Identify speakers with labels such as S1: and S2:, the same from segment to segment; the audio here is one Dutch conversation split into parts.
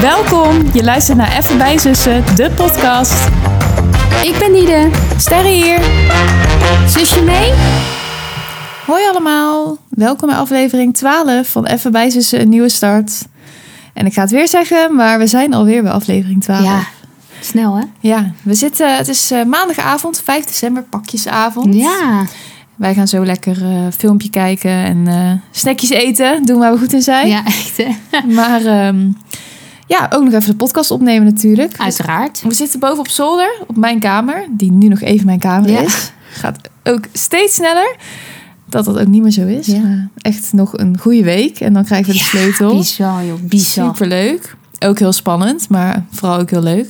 S1: Welkom, je luistert naar Even bij Zussen, de podcast.
S2: Ik ben Nide.
S1: Sterre hier.
S2: Zusje mee?
S1: Hoi allemaal, welkom bij aflevering 12 van Even bij Zussen, een nieuwe start. En ik ga het weer zeggen, maar we zijn alweer bij aflevering 12.
S2: Ja. Snel, hè?
S1: Ja, we zitten, het is eh, maandagavond, 5 december, pakjesavond.
S2: Ja.
S1: Wij gaan zo lekker eh, filmpje kijken en eh, snackjes eten, doen waar we goed in zijn.
S2: Ja, echt, hè?
S1: Maar ehm, ja, ook nog even de podcast opnemen natuurlijk.
S2: Uiteraard.
S1: We zitten boven op zolder, op mijn kamer, die nu nog even mijn kamer
S2: Ja.
S1: is. Gaat ook steeds sneller. Dat dat ook niet meer zo is.
S2: Ja.
S1: Maar Echt nog een goede week en dan krijgen we de sleutel.
S2: Bizar, joh. Bizar.
S1: Superleuk. Ook heel spannend, maar vooral ook heel leuk.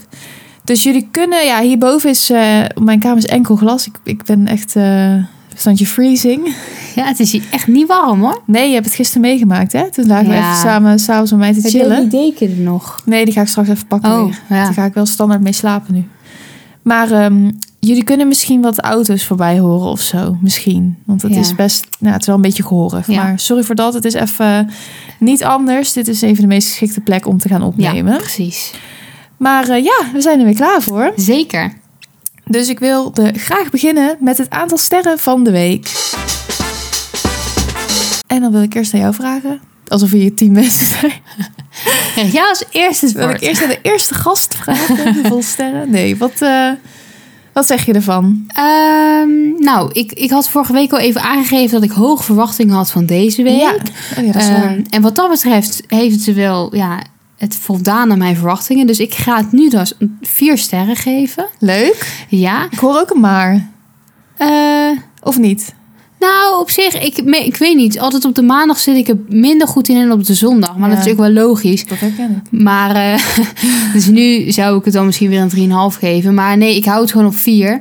S1: Dus jullie kunnen, ja, hierboven is, eh, mijn kamer is enkel glas. Ik, ik ben echt, eh standje freezing.
S2: Ja, het is hier echt niet warm, hoor.
S1: Nee, je hebt het gisteren meegemaakt, hè? Toen lagen we
S2: Ja.
S1: even samen, s'avonds met mij te chillen.
S2: deken er nog?
S1: Nee, die ga ik straks even pakken weer.
S2: Oh, ja.
S1: Daar ga ik wel standaard mee slapen nu. Maar ehm, jullie kunnen misschien wat auto's voorbij horen of zo. Misschien. Want het
S2: Ja.
S1: is best, nou, het is wel een beetje gehorig.
S2: Ja.
S1: Maar sorry voor dat. Het is even niet anders. Dit is even de meest geschikte plek om te gaan opnemen.
S2: Ja, precies.
S1: Maar eh, ja, we zijn er weer klaar voor.
S2: Zeker.
S1: Dus ik wilde graag beginnen met het aantal sterren van de week. En dan wil ik eerst aan jou vragen. Alsof we je team mensen zijn.
S2: Krijg jij als eerste het
S1: Wil ik
S2: woord.
S1: eerst aan de eerste gast vragen? Hoeveel sterren? Nee, wat, eh, wat zeg je ervan?
S2: Ehm, nou, ik, ik had vorige week al even aangegeven dat ik hoge verwachtingen had van deze week.
S1: Ja. Oh ja, dat is wel waar.
S2: Ehm, en wat dat betreft heeft ze wel ja, het voldaan aan mijn verwachtingen. Dus ik ga het nu dus vier sterren geven.
S1: Leuk.
S2: Ja.
S1: Ik hoor ook een maar.
S2: Eh,
S1: Of niet?
S2: nou, op zich, ik, me- ik weet niet. Altijd op de maandag zit ik er minder goed in dan op de zondag. Maar
S1: Ja.
S2: dat is ook wel logisch.
S1: Dat herken ik.
S2: Maar eh, dus nu zou ik het dan misschien weer een 3,5 geven. Maar nee, ik hou het gewoon op 4.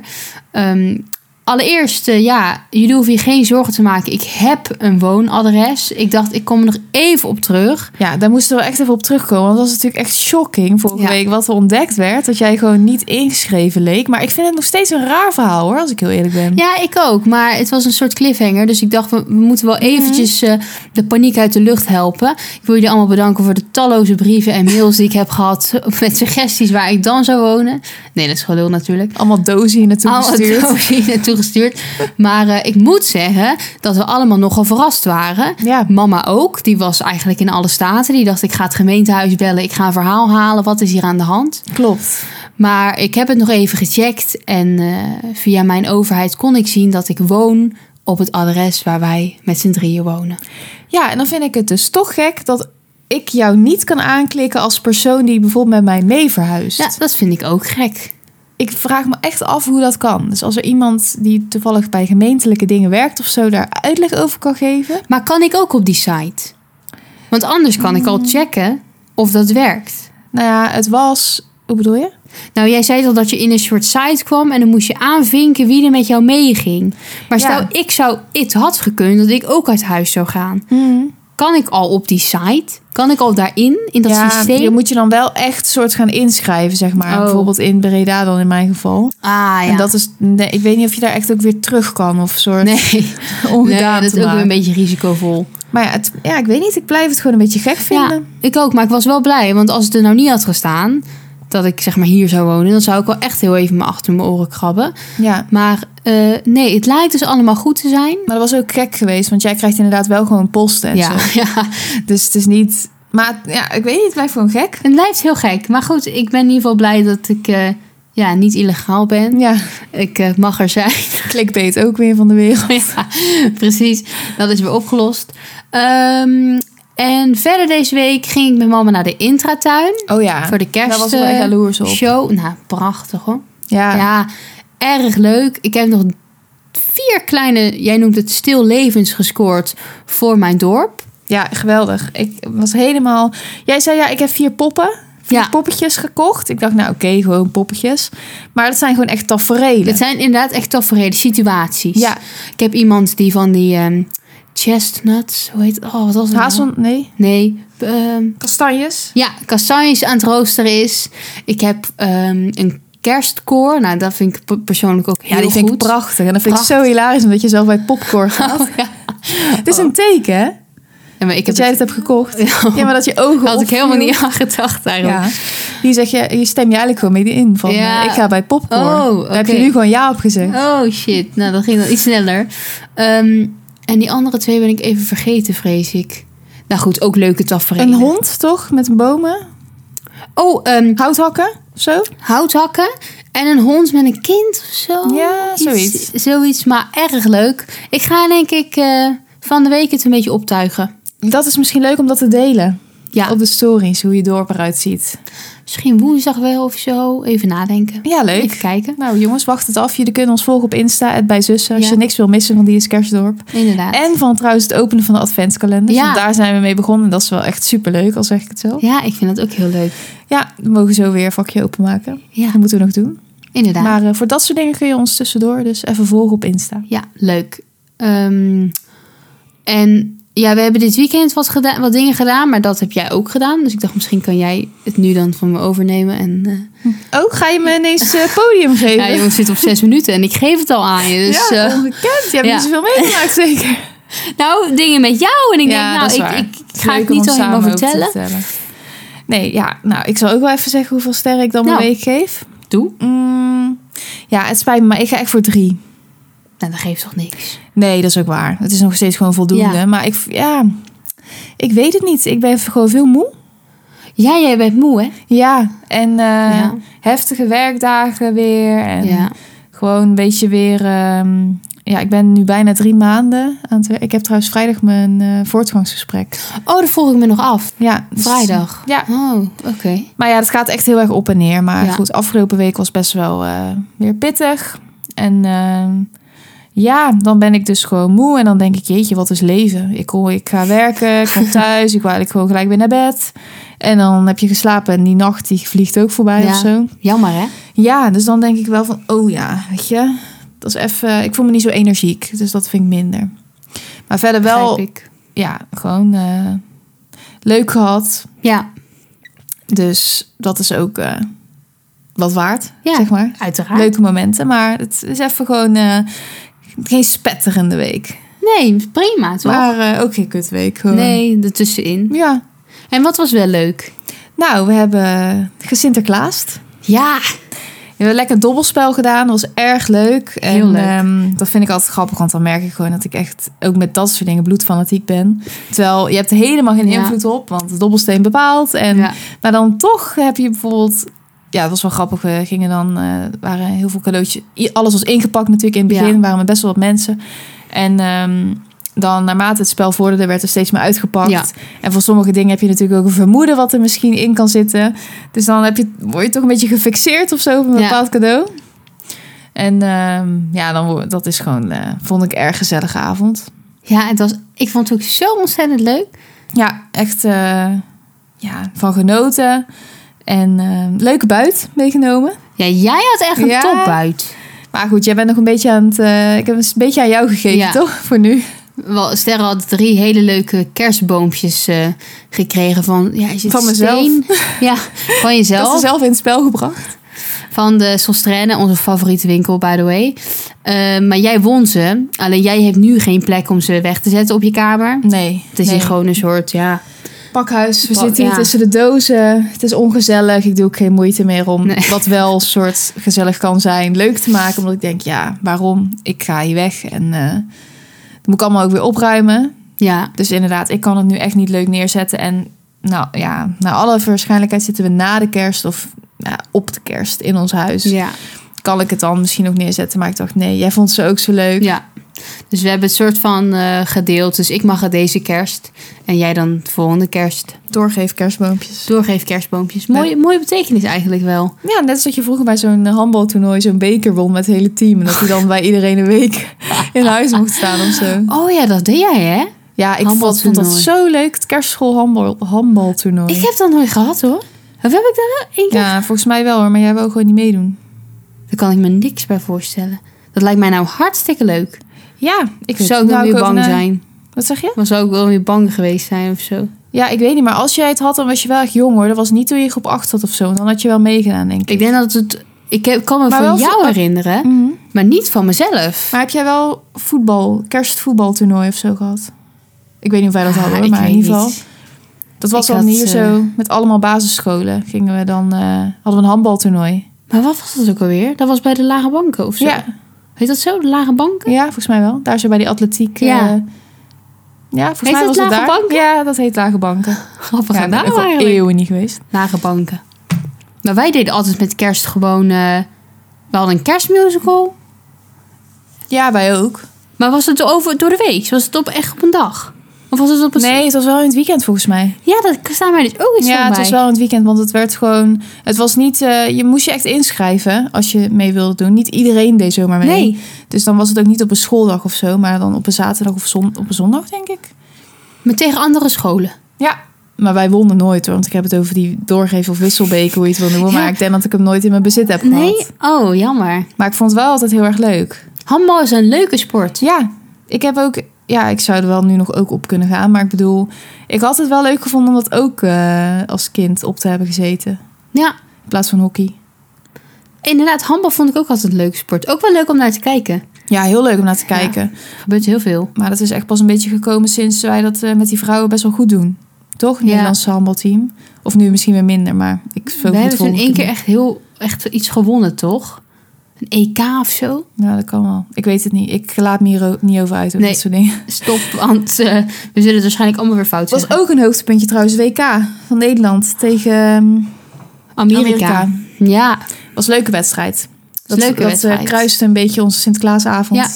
S2: Ehm, allereerst, eh, ja, jullie hoeven je geen zorgen te maken. Ik heb een woonadres. Ik dacht, ik kom er nog even op terug.
S1: Ja, daar moesten we echt even op terugkomen. Want dat was natuurlijk echt shocking vorige
S2: Ja.
S1: week wat er ontdekt werd. Dat jij gewoon niet ingeschreven leek. Maar ik vind het nog steeds een raar verhaal hoor, als ik heel eerlijk ben.
S2: Ja, ik ook. Maar het was een soort cliffhanger. Dus ik dacht, we, we moeten wel eventjes eh, de paniek uit de lucht helpen. Ik wil jullie allemaal bedanken voor de talloze brieven en mails die ik heb gehad. Met suggesties waar ik dan zou wonen. Nee, dat is gelul natuurlijk.
S1: Allemaal dozen hier naartoe
S2: Al het
S1: gestuurd.
S2: doosje naartoe gestuurd. Maar eh, ik moet zeggen dat we allemaal nogal verrast waren.
S1: Ja,
S2: Mama ook, die was eigenlijk in alle staten. Die dacht, ik ga het gemeentehuis bellen, ik ga een verhaal halen. Wat is hier aan de hand?
S1: klopt.
S2: Maar ik heb het nog even gecheckt en eh, via mijn overheid kon ik zien dat ik woon op het adres waar wij met z'n drieën wonen.
S1: Ja, en dan vind ik het dus toch gek dat ik jou niet kan aanklikken als persoon die bijvoorbeeld met mij mee verhuist.
S2: Ja, dat vind ik ook gek.
S1: ik vraag me echt af hoe dat kan. Dus als er iemand die toevallig bij gemeentelijke dingen werkt of zo daar uitleg over kan geven.
S2: Maar kan ik ook op die site? Want anders kan ik al
S1: Mm.
S2: checken of dat werkt.
S1: Nou ja, het was. Hoe bedoel je?
S2: Nou, jij zei al dat je in een soort site kwam en dan moest je aanvinken wie er met jou meeging. Maar
S1: Ja.
S2: stel, ik zou het had gekund dat ik ook uit huis zou gaan. Kan ik al op die site? Kan ik al daarin, in Hmm. dat
S1: ja,
S2: systeem?
S1: je moet je dan wel echt soort gaan inschrijven, zeg maar.
S2: Oh.
S1: Bijvoorbeeld in Breda dan in mijn geval.
S2: Ah ja.
S1: En dat is. Nee, ik weet niet of je daar echt ook weer terug kan of soort
S2: nee.
S1: ongedaan
S2: nee, dat
S1: te
S2: is ook weer
S1: maken.
S2: een beetje risicovol.
S1: Maar ja, het, ja, ik weet niet. Ik blijf het gewoon een beetje gek vinden.
S2: Ja, ik ook, maar ik was wel blij. Want als het er nou niet had gestaan, dat ik zeg maar hier zou wonen... dan zou ik wel echt heel even me achter mijn oren krabben.
S1: ja.
S2: Maar eh, nee, het lijkt dus allemaal goed te zijn.
S1: Maar dat was ook gek geweest, want jij krijgt inderdaad wel gewoon posten en
S2: Ja,
S1: zo.
S2: ja,
S1: Dus het is niet. Maar ja, ik weet niet. Het blijft gewoon gek.
S2: het lijkt heel gek. Maar goed, ik ben in ieder geval blij dat ik eh, ja, niet illegaal ben.
S1: Ja.
S2: Ik eh, mag er zijn. Oh
S1: Clickbait ook weer van de wereld.
S2: ja, precies. Dat is weer opgelost. Ehm, en verder deze week ging ik met mama naar de intratuin.
S1: Oh ja,
S2: Voor de kerst.
S1: daar was ik wel echt
S2: eh,
S1: jaloers op.
S2: Show. Nou, prachtig hoor.
S1: Ja,
S2: Ja, erg leuk. Ik heb nog vier kleine, jij noemt het stil levens gescoord voor mijn dorp.
S1: ja, geweldig. Ik was helemaal... Jij zei, ja, ik heb vier poppen, vier
S2: Ja.
S1: poppetjes gekocht. Ik dacht, nou oké, gewoon poppetjes. Maar dat zijn gewoon echt tafereelen.
S2: Dit zijn inderdaad echt tafereelen situaties.
S1: Ja,
S2: Ik heb iemand die van die ehm, chestnuts, hoe heet het? Oh, wat was het? nou?
S1: hazel... Nee,
S2: Nee. ehm,
S1: kastanjes.
S2: ja, kastanjes aan het roosteren is. Ik heb ehm, een kerstkoor. Nou, dat vind ik pe- persoonlijk ook heel
S1: Ja, die vind ik
S2: goed.
S1: prachtig. En dat vind ik
S2: Prachtig.
S1: zo hilarisch, omdat je zelf bij popcorn gaat.
S2: Oh, ja.
S1: Het is een teken, hè?
S2: Ja, maar ik
S1: Dat
S2: heb
S1: jij het hebt gekocht. Ja, maar dat je ogen
S2: Daar had ik
S1: opviel.
S2: helemaal niet aan gedacht eigenlijk.
S1: Ja. Hier, zeg je, hier stem je eigenlijk gewoon mee in. Van,
S2: Ja.
S1: eh, ik ga bij popcorn.
S2: Oh,
S1: Daar heb je
S2: oké.
S1: nu gewoon ja op gezegd.
S2: Oh shit, nou dat ging dan iets sneller. Ehm, en die andere twee ben ik even vergeten, vrees ik. Nou goed, ook leuke tafereel.
S1: Een hond, toch? Met bomen.
S2: Oh, ehm,
S1: Houthakken, zo?
S2: hout hakken en een hond met een kind of zo.
S1: ja,
S2: Oh, Iets-
S1: zoiets.
S2: Zoiets, maar erg leuk. Ik ga denk ik eh, van de week het een beetje optuigen.
S1: Dat is misschien leuk om dat te delen.
S2: Ja,
S1: Op de stories, hoe je dorp eruit ziet.
S2: misschien woensdag wel of zo. Even nadenken.
S1: Ja, leuk.
S2: Even kijken.
S1: Nou jongens, wacht het af. Jullie kunnen ons volgen op Insta, het bij zussen. Als
S2: Ja.
S1: je niks wil missen van die is Kerstdorp.
S2: Inderdaad.
S1: En van trouwens het openen van de adventskalender.
S2: Ja.
S1: Want daar zijn we mee begonnen. Dat is wel echt superleuk, al zeg ik het zo.
S2: Ja, ik vind dat ook heel leuk.
S1: Ja, we mogen zo weer een vakje openmaken.
S2: Ja,
S1: Dat moeten we nog doen.
S2: inderdaad.
S1: Maar eh, voor dat soort dingen kun je ons tussendoor dus even volgen op Insta.
S2: Ja, leuk. Ehm, en ja, we hebben dit weekend wat, gedaan, wat dingen gedaan, maar dat heb jij ook gedaan. Dus ik dacht, misschien kan jij het nu dan van me overnemen. En, eh,
S1: Oh, ga je me ineens eh, podium geven?
S2: ja, jongens, het zit op zes minuten en ik geef het al aan je. Dus,
S1: ja,
S2: eh,
S1: ongekend. Je hebt
S2: ja.
S1: niet zoveel meegemaakt zeker.
S2: nou, dingen met jou. En ik
S1: Ja, dat
S2: denk,
S1: is
S2: nou,
S1: waar.
S2: ik, ik, ik ga
S1: Leuk
S2: het
S1: om
S2: niet
S1: ons
S2: al helemaal
S1: samen ook te
S2: vertellen.
S1: Nee, ja. Nou, ik zal ook wel even zeggen hoeveel sterren ik dan per
S2: Nou.
S1: week geef.
S2: Doe.
S1: Mm, ja, het spijt me, maar ik ga echt voor drie.
S2: Nou, dat geeft toch niks.
S1: Nee, dat is ook waar. Het is nog steeds gewoon voldoende.
S2: Ja.
S1: Maar ik, ja, ik weet het niet. Ik ben gewoon veel moe.
S2: Ja, jij bent moe, hè?
S1: Ja, en eh,
S2: Ja.
S1: heftige werkdagen weer. En
S2: ja.
S1: gewoon een beetje weer... ehm, ja, ik ben nu bijna drie maanden aan het werk. Ik heb trouwens vrijdag mijn eh, voortgangsgesprek.
S2: Oh, dat volg ik me nog af.
S1: Ja, dus-
S2: Vrijdag.
S1: Ja,
S2: Oh, oké.
S1: maar ja, het gaat echt heel erg op en neer. Maar
S2: Ja.
S1: goed, afgelopen week was best wel eh, weer pittig. En ehm, ja, dan ben ik dus gewoon moe. En dan denk ik, jeetje, wat is leven? Ik, hoor, ik ga werken, ik kom thuis. ik wil eigenlijk gewoon gelijk weer naar bed. En dan heb je geslapen en die nacht die vliegt ook voorbij
S2: Ja.
S1: of zo.
S2: Jammer, hè?
S1: Ja, dus dan denk ik wel van, oh ja, weet je. Dat is even, ik voel me niet zo energiek. Dus dat vind ik minder. Maar verder
S2: Begrijp
S1: wel,
S2: Ik.
S1: ja, gewoon eh, leuk gehad.
S2: Ja,
S1: Dus dat is ook eh, wat waard,
S2: Ja.
S1: zeg maar.
S2: uiteraard.
S1: Leuke momenten, maar het is even gewoon eh, geen spetterende week.
S2: Nee, prima, toch?
S1: Maar eh, ook geen kutweek. Gewoon.
S2: Nee, ertussenin.
S1: Ja.
S2: En wat was wel leuk?
S1: Nou, we hebben gesinterklaast.
S2: Ja,
S1: We hebben lekker dobbelspel gedaan. Dat was erg leuk.
S2: Heel
S1: en,
S2: leuk.
S1: ehm, dat vind ik altijd grappig, want dan merk ik gewoon dat ik echt ook met dat soort dingen bloedfanatiek ben. Terwijl je hebt er helemaal geen
S2: Ja.
S1: invloed op, want de dobbelsteen bepaalt. En
S2: ja.
S1: Maar dan toch heb je bijvoorbeeld... Ja, het was wel grappig. We gingen dan... eh, waren heel veel cadeautjes... i- Alles was ingepakt natuurlijk in het begin.
S2: Ja.
S1: waren er best wel wat mensen. En ehm, dan naarmate het spel vorderde... werd er steeds meer uitgepakt.
S2: Ja.
S1: En voor sommige dingen heb je natuurlijk ook een vermoeden... wat er misschien in kan zitten. Dus dan heb je, word je toch een beetje gefixeerd of zo... op een
S2: Ja.
S1: bepaald cadeau. En ehm, ja, dan, wo- dat is gewoon... eh, vond ik erg gezellige avond.
S2: ja het was, ik vond het ook zo ontzettend leuk.
S1: Ja, echt eh, ja, van genoten. En eh, leuke buit meegenomen.
S2: Ja, jij had echt een
S1: Ja.
S2: topbuit.
S1: Maar goed, jij bent nog een beetje aan het. eh, ik heb een beetje aan jou gegeven,
S2: Ja.
S1: toch? Voor nu.
S2: Wel, Sterre had drie hele leuke kerstboompjes eh, gekregen van... Ja, is het
S1: Van mezelf.
S2: steen? Ja, van
S1: Dat is
S2: jezelf.
S1: zelf in het spel gebracht.
S2: Van de Sostraine, onze favoriete winkel, by the way. Eh, maar jij won ze. Alleen jij hebt nu geen plek om ze weg te zetten op je kamer.
S1: Nee.
S2: Het is hier gewoon een soort, ja...
S1: pakhuis. We
S2: Pak-
S1: zitten hier
S2: ja.
S1: tussen de dozen. Het is ongezellig. Ik doe ook geen moeite meer om
S2: Nee.
S1: wat wel een soort gezellig kan zijn, leuk te maken. Omdat ik denk, ja, waarom? Ik ga hier weg en eh, dat moet ik allemaal ook weer opruimen.
S2: Ja,
S1: Dus inderdaad, ik kan het nu echt niet leuk neerzetten. En nou ja, naar alle waarschijnlijkheid zitten we na de kerst of ja, op de kerst in ons huis.
S2: ja.
S1: Kan ik het dan misschien ook neerzetten? Maar ik dacht, nee, jij vond ze ook zo leuk.
S2: Ja. Dus we hebben het soort van eh, gedeeld. Dus ik mag het deze kerst. En jij dan de volgende kerst.
S1: Doorgeef kerstboompjes.
S2: Doorgeef kerstboompjes. Mooie, mooie betekenis eigenlijk wel.
S1: Ja, net als dat je vroeger bij zo'n eh, handbaltoernooi zo'n beker won met het hele team. En dat hij dan bij iedereen een week in huis mocht staan of zo.
S2: Oh ja, dat deed jij hè?
S1: Ja, ik vond, vond dat
S2: Handbaltoernooi.
S1: zo leuk, het kerstschool handbal, handbaltoernooi.
S2: Ik heb dat nooit gehad hoor. Of heb ik dat wel één keer?
S1: Ja, volgens mij wel hoor, maar jij wou gewoon niet meedoen.
S2: Daar kan ik me niks bij voorstellen. Dat lijkt mij nou hartstikke leuk.
S1: Ja, ik weet
S2: zou ik
S1: nou,
S2: wel weer
S1: over
S2: bang
S1: na-
S2: zijn.
S1: Wat zeg je?
S2: Dan zou ik wel weer bang geweest zijn of zo.
S1: Ja, ik weet niet, maar als jij het had, dan was je wel echt jong hoor. Dat was niet toen je groep 8 had of zo. En Dan had je wel meegedaan, denk ik.
S2: Ik denk dat het... Ik heb- kan me
S1: Maar
S2: van
S1: wel-
S2: jou herinneren,
S1: Mhm.
S2: maar niet van mezelf.
S1: Maar heb jij wel voetbal, kerstvoetbaltoernooi of zo gehad? Ik weet niet of wij dat hadden,
S2: Ah,
S1: hoor,
S2: ik
S1: maar in
S2: weet
S1: ieder geval.
S2: niet.
S1: Dat was
S2: Ik
S1: dan
S2: had,
S1: hier
S2: eh,
S1: zo. Met allemaal basisscholen gingen we dan, eh, hadden we een handbaltoernooi.
S2: Maar wat was dat ook alweer? Dat was bij de lage banken of zo?
S1: Ja,
S2: Heet dat zo? De lage banken?
S1: ja, volgens mij wel. Daar zo bij die atletiek. eh,
S2: Ja.
S1: ja, volgens mij
S2: Heet
S1: was het
S2: dat
S1: daar.
S2: lage banken?
S1: Ja, dat heet lage banken.
S2: Grappig
S1: ja,
S2: gedaan
S1: ik al
S2: eigenlijk.
S1: eeuwen niet geweest.
S2: Lage banken. Maar wij deden altijd met kerst gewoon... eh, we hadden een kerstmusical.
S1: Ja, wij ook.
S2: Maar was het over, door de week? Was het op, echt op een dag? Of was het op een...
S1: Nee, het was wel in het weekend volgens mij.
S2: Ja, daar staan wij dus ook iets
S1: Ja,
S2: van
S1: het
S2: bij.
S1: was wel in het weekend, want het werd gewoon... Het was niet... eh, je moest je echt inschrijven als je mee wilde doen. Niet iedereen deed zomaar mee.
S2: Nee.
S1: Dus dan was het ook niet op een schooldag of zo, maar dan op een zaterdag of zon, op een zondag, denk ik.
S2: Maar tegen andere scholen.
S1: Ja. Maar wij wonnen nooit, hoor, want ik heb het over die doorgeven of wisselbeker, hoe je het wil noemen.
S2: Ja.
S1: Maar ik denk dat ik hem nooit in mijn bezit heb gehad.
S2: Nee? Oh, jammer.
S1: Maar ik vond het wel altijd heel erg leuk.
S2: Handbal is een leuke sport.
S1: Ja, ik heb ook... Ja, ik zou er wel nu nog ook op kunnen gaan. Maar ik bedoel, ik had het wel leuk gevonden om dat ook eh, als kind op te hebben gezeten.
S2: Ja,
S1: In plaats van hockey.
S2: inderdaad. Handbal vond ik ook altijd een leuke sport. Ook wel leuk om naar te kijken.
S1: Ja, heel leuk om naar te kijken.
S2: Gebeurt heel veel.
S1: Maar dat is echt pas een beetje gekomen sinds wij dat eh, met die vrouwen best wel goed doen. Toch? Het
S2: Ja.
S1: Nederlandse handbalteam. Of nu misschien weer minder, maar ik zo
S2: we
S1: goed
S2: hebben
S1: volg
S2: toen
S1: ik
S2: één
S1: het
S2: keer
S1: niet.
S2: echt heel echt iets gewonnen, toch? Een EK of zo?
S1: Ja, dat kan wel. Ik weet het niet. Ik laat me hier ook niet over uit, over
S2: Nee.
S1: dat soort dingen.
S2: Stop, want eh, we zullen het waarschijnlijk allemaal weer fout
S1: Het was
S2: zeggen.
S1: ook een hoogtepuntje trouwens, WK van Nederland tegen ehm,
S2: Amerika.
S1: Amerika.
S2: Ja,
S1: was een leuke wedstrijd. Dat,
S2: leuke
S1: dat eh,
S2: wedstrijd.
S1: kruiste een beetje onze Sinterklaasavond.
S2: Ja.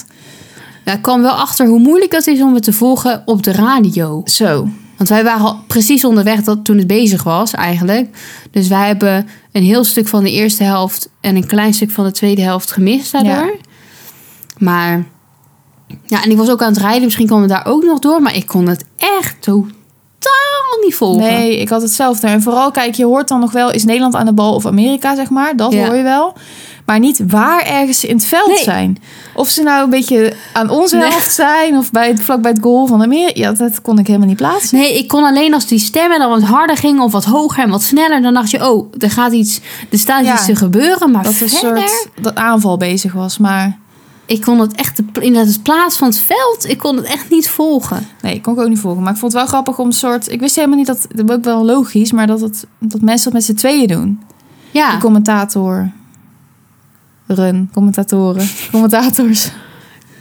S2: nou, ik kwam wel achter hoe moeilijk het is om het te volgen op de radio.
S1: Zo.
S2: Want wij waren al precies onderweg dat, toen het bezig was, eigenlijk. Dus wij hebben een heel stuk van de eerste helft en een klein stuk van de tweede helft gemist daardoor. Maar ja, en ik was ook aan het rijden. Misschien kwam het daar ook nog door. Maar ik kon het echt totaal niet volgen.
S1: Nee, ik had hetzelfde. En vooral, kijk, je hoort dan nog wel... is Nederland aan de bal of Amerika, zeg maar. Dat
S2: Ja.
S1: hoor je wel. Maar niet waar ergens ze in het veld
S2: Nee.
S1: zijn. Of ze nou een beetje aan onze
S2: Nee.
S1: helft zijn... of bij het, vlak bij het goal van Amerika. Ja, dat kon ik helemaal niet plaatsen.
S2: Nee, ik kon alleen als die stemmen dan wat harder gingen of wat hoger en wat sneller. Dan dacht je, oh, er gaat iets, er staat
S1: Ja.
S2: iets te gebeuren. Maar
S1: Dat er een
S2: verder,
S1: soort dat aanval bezig was. Maar
S2: ik kon het echt, de- inderdaad, het plaats van het veld, ik kon het echt niet volgen.
S1: nee, kon ik ook niet volgen. Maar ik vond het wel grappig om een soort... Ik wist helemaal niet dat... Dat ook wel logisch, maar dat, het, dat mensen dat met z'n tweeën doen.
S2: Ja.
S1: De commentator... Run, commentatoren, commentators.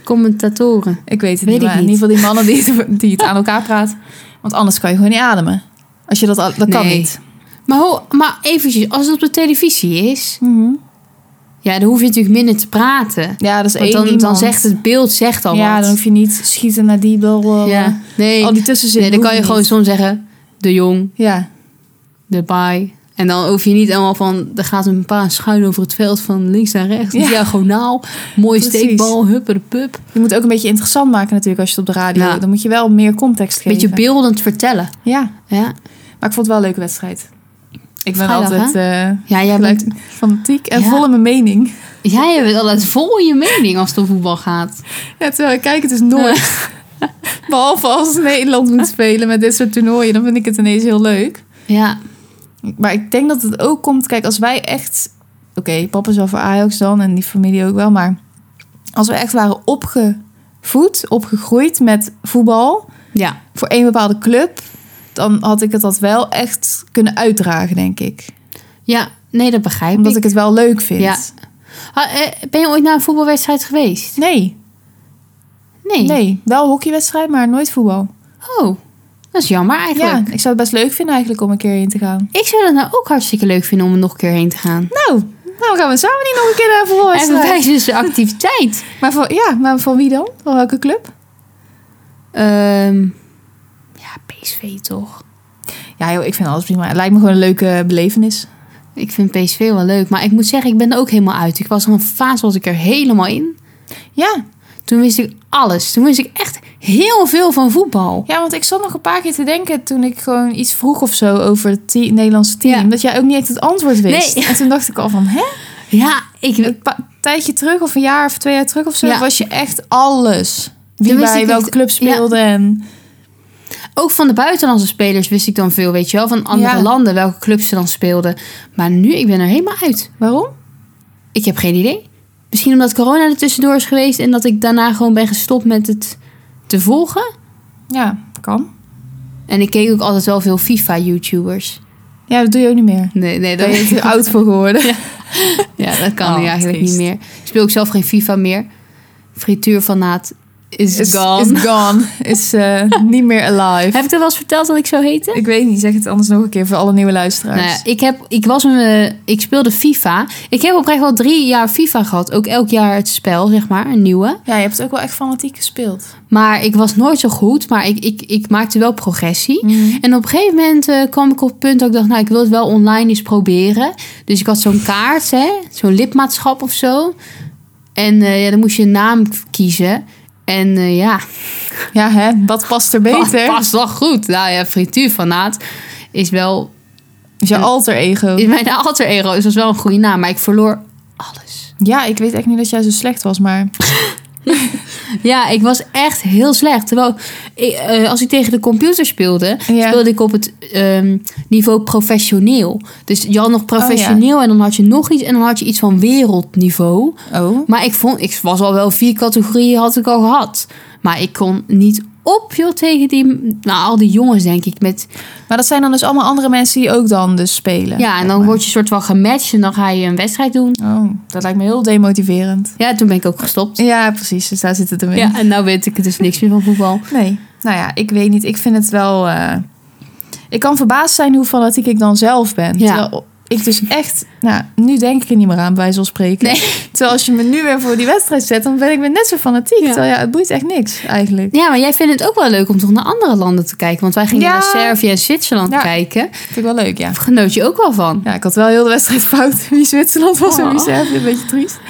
S2: Commentatoren.
S1: Ik weet het
S2: Weet
S1: niet,
S2: ik
S1: maar in
S2: niet.
S1: ieder geval die mannen die het, die het aan elkaar praten. Want anders kan je gewoon niet ademen. Als je dat, al- dat kan
S2: Nee.
S1: niet.
S2: Maar, ho, maar eventjes, als het op de televisie is, ja, dan hoef je natuurlijk minder te praten.
S1: Ja, dat is
S2: Want
S1: één
S2: dan,
S1: iemand.
S2: dan zegt het beeld zegt al
S1: Ja,
S2: wat.
S1: dan hoef je niet schieten naar die bel. eh, bel,
S2: ja. Nee,
S1: Al die tussenzin.
S2: nee, dan kan je gewoon soms zeggen, de jong,
S1: Ja,
S2: de baai. En dan hoef je niet allemaal van, er gaat een paar schuin over het veld van links naar rechts.
S1: Ja.
S2: Diagonaal, mooie
S1: Precies.
S2: steekbal, hupper de pup.
S1: je moet ook een beetje interessant maken natuurlijk als je het op de radio.
S2: Ja.
S1: Dan moet je wel meer context geven.
S2: Beetje beeldend vertellen.
S1: Ja,
S2: Ja,
S1: maar ik vond het wel een leuke wedstrijd. Ik ben
S2: Vrijdag,
S1: altijd eh,
S2: ja jij,
S1: gelijk
S2: bent,
S1: fanatiek en
S2: Ja.
S1: vol in mijn mening.
S2: jij bent altijd vol in je mening als het om voetbal gaat.
S1: Ja, terwijl ik kijk het is nooit. Behalve als Nederland moet spelen met dit soort toernooien, dan vind ik het ineens heel leuk.
S2: Ja,
S1: Maar ik denk dat het ook komt. Kijk, als wij echt. Oké, papa is wel voor Ajax dan en die familie ook wel. Maar als we echt waren opgevoed, opgegroeid met voetbal
S2: ja.
S1: voor één bepaalde club. Dan had ik het dat wel echt kunnen uitdragen, denk ik.
S2: ja nee, dat begrijp
S1: Omdat
S2: ik.
S1: ik het wel leuk vind.
S2: Ja. Ah, eh, Ben je ooit naar een voetbalwedstrijd geweest?
S1: Nee,
S2: Nee.
S1: nee. Wel hockeywedstrijd, maar nooit voetbal.
S2: Oh, dat is jammer eigenlijk.
S1: Ja, ik zou het best leuk vinden eigenlijk om een keer heen te gaan.
S2: Ik zou dat nou ook hartstikke leuk vinden om er nog een keer heen te gaan.
S1: Nou, nou gaan we samen niet nog een keer naar een
S2: En
S1: voetbalwedstrijd.
S2: wij dus de activiteit.
S1: Maar van, ja, maar van wie dan? Van welke club?
S2: Ehm, ja, PSV toch.
S1: Ja, joh, ik vind alles prima. Het lijkt me gewoon een leuke belevenis.
S2: Ik vind PSV wel leuk, maar ik moet zeggen, ik ben er ook helemaal uit. Ik was er een fase, was ik er helemaal in.
S1: Ja,
S2: Toen wist ik alles. Toen wist ik echt heel veel van voetbal.
S1: ja, want ik zat nog een paar keer te denken toen ik gewoon iets vroeg of zo over het te- Nederlandse team.
S2: Ja.
S1: Dat jij ook niet echt het antwoord wist.
S2: Nee.
S1: En toen dacht ik al van, hè?
S2: Ja, ik,
S1: Een pa- tijdje terug of een jaar of twee jaar terug of zo
S2: Ja.
S1: was je echt alles. Wie
S2: Toen wist
S1: bij
S2: ik
S1: welke
S2: het-
S1: club speelde en...
S2: ook van de buitenlandse spelers wist ik dan veel, weet je wel. Van andere
S1: Ja.
S2: landen, welke clubs ze dan speelden. Maar nu, ik ben er helemaal uit.
S1: Waarom?
S2: Ik heb geen idee. Misschien omdat corona er tussendoor is geweest en dat ik daarna gewoon ben gestopt met het te volgen.
S1: Ja, kan.
S2: En ik keek ook altijd wel veel FIFA-YouTubers.
S1: Ja, dat doe je ook niet meer.
S2: Nee, nee,
S1: Daar
S2: dat,
S1: ben je te oud voor geworden.
S2: ja, dat kan
S1: Oh,
S2: nu eigenlijk
S1: triest.
S2: niet meer. Ik speel ook zelf geen FIFA meer. Frituurfanaat is,
S1: Is
S2: gone.
S1: Is gone. Is eh, niet meer alive.
S2: Heb ik dat wel eens verteld dat ik zo heette?
S1: Ik weet niet, zeg het anders nog een keer voor alle nieuwe luisteraars.
S2: Nou ja, ik, heb, ik, was een, eh, ik speelde FIFA. Ik heb oprecht wel drie jaar FIFA gehad. Ook elk jaar het spel, zeg maar, een nieuwe.
S1: Ja, je hebt ook wel echt fanatiek gespeeld.
S2: Maar ik was nooit zo goed, maar ik, ik, ik maakte wel progressie.
S1: Mm.
S2: En op een gegeven moment eh, kwam ik op het punt dat ik dacht, nou, ik wil het wel online eens proberen. Dus ik had zo'n kaart, hè, zo'n lidmaatschap of zo. En eh, ja, dan moest je een naam kiezen. En eh, ja,
S1: Ja, hè? Wat past er beter?
S2: pas wel goed. Nou ja, frituurfanaat is wel,
S1: Is je alter ego.
S2: is mijn alter ego, is dat wel een goede naam. Maar ik verloor alles.
S1: Ja, ik weet echt niet dat jij zo slecht was, maar...
S2: Ja, ik was echt heel slecht. Terwijl, ik, eh, als ik tegen de computer speelde,
S1: Ja.
S2: speelde ik op het ehm, niveau professioneel. Dus je had nog
S1: Oh,
S2: professioneel en dan had je nog iets en dan had je iets van wereldniveau.
S1: Oh.
S2: Maar ik vond, ik was al wel vier categorieën had ik al gehad. Maar ik kon niet op joh, tegen die, nou, al die jongens denk ik. Met,
S1: Maar dat zijn dan dus allemaal andere mensen die ook dan dus spelen.
S2: ja, en
S1: zeg
S2: dan
S1: maar.
S2: word je soort van gematcht en dan ga je een wedstrijd doen.
S1: Oh, dat lijkt me heel demotiverend.
S2: Ja, toen ben ik ook gestopt.
S1: Ja, precies. Dus daar zit het hem in.
S2: Ja, en nou weet ik dus niks meer van voetbal.
S1: Nee. Nou ja, ik weet niet. Ik vind het wel... eh, Ik kan verbaasd zijn hoe fanatiek ik dan zelf ben.
S2: Ja.
S1: Terwijl ik dus echt... Nou, nu denk ik er niet meer aan, bij wijze van spreken.
S2: Nee.
S1: Terwijl als je me nu weer voor die wedstrijd zet, dan ben ik weer net zo fanatiek.
S2: Ja.
S1: Terwijl ja, het boeit echt niks, eigenlijk.
S2: Ja, maar jij vindt het ook wel leuk om toch naar andere landen te kijken. Want wij gingen
S1: Ja.
S2: naar Servië en Zwitserland
S1: Ja.
S2: kijken.
S1: Vind ik wel leuk, ja.
S2: Daar genoot je ook wel van.
S1: Ja, ik had wel heel de wedstrijd fout. Wie Zwitserland was en wie
S2: Oh.
S1: Servië. Een beetje triest.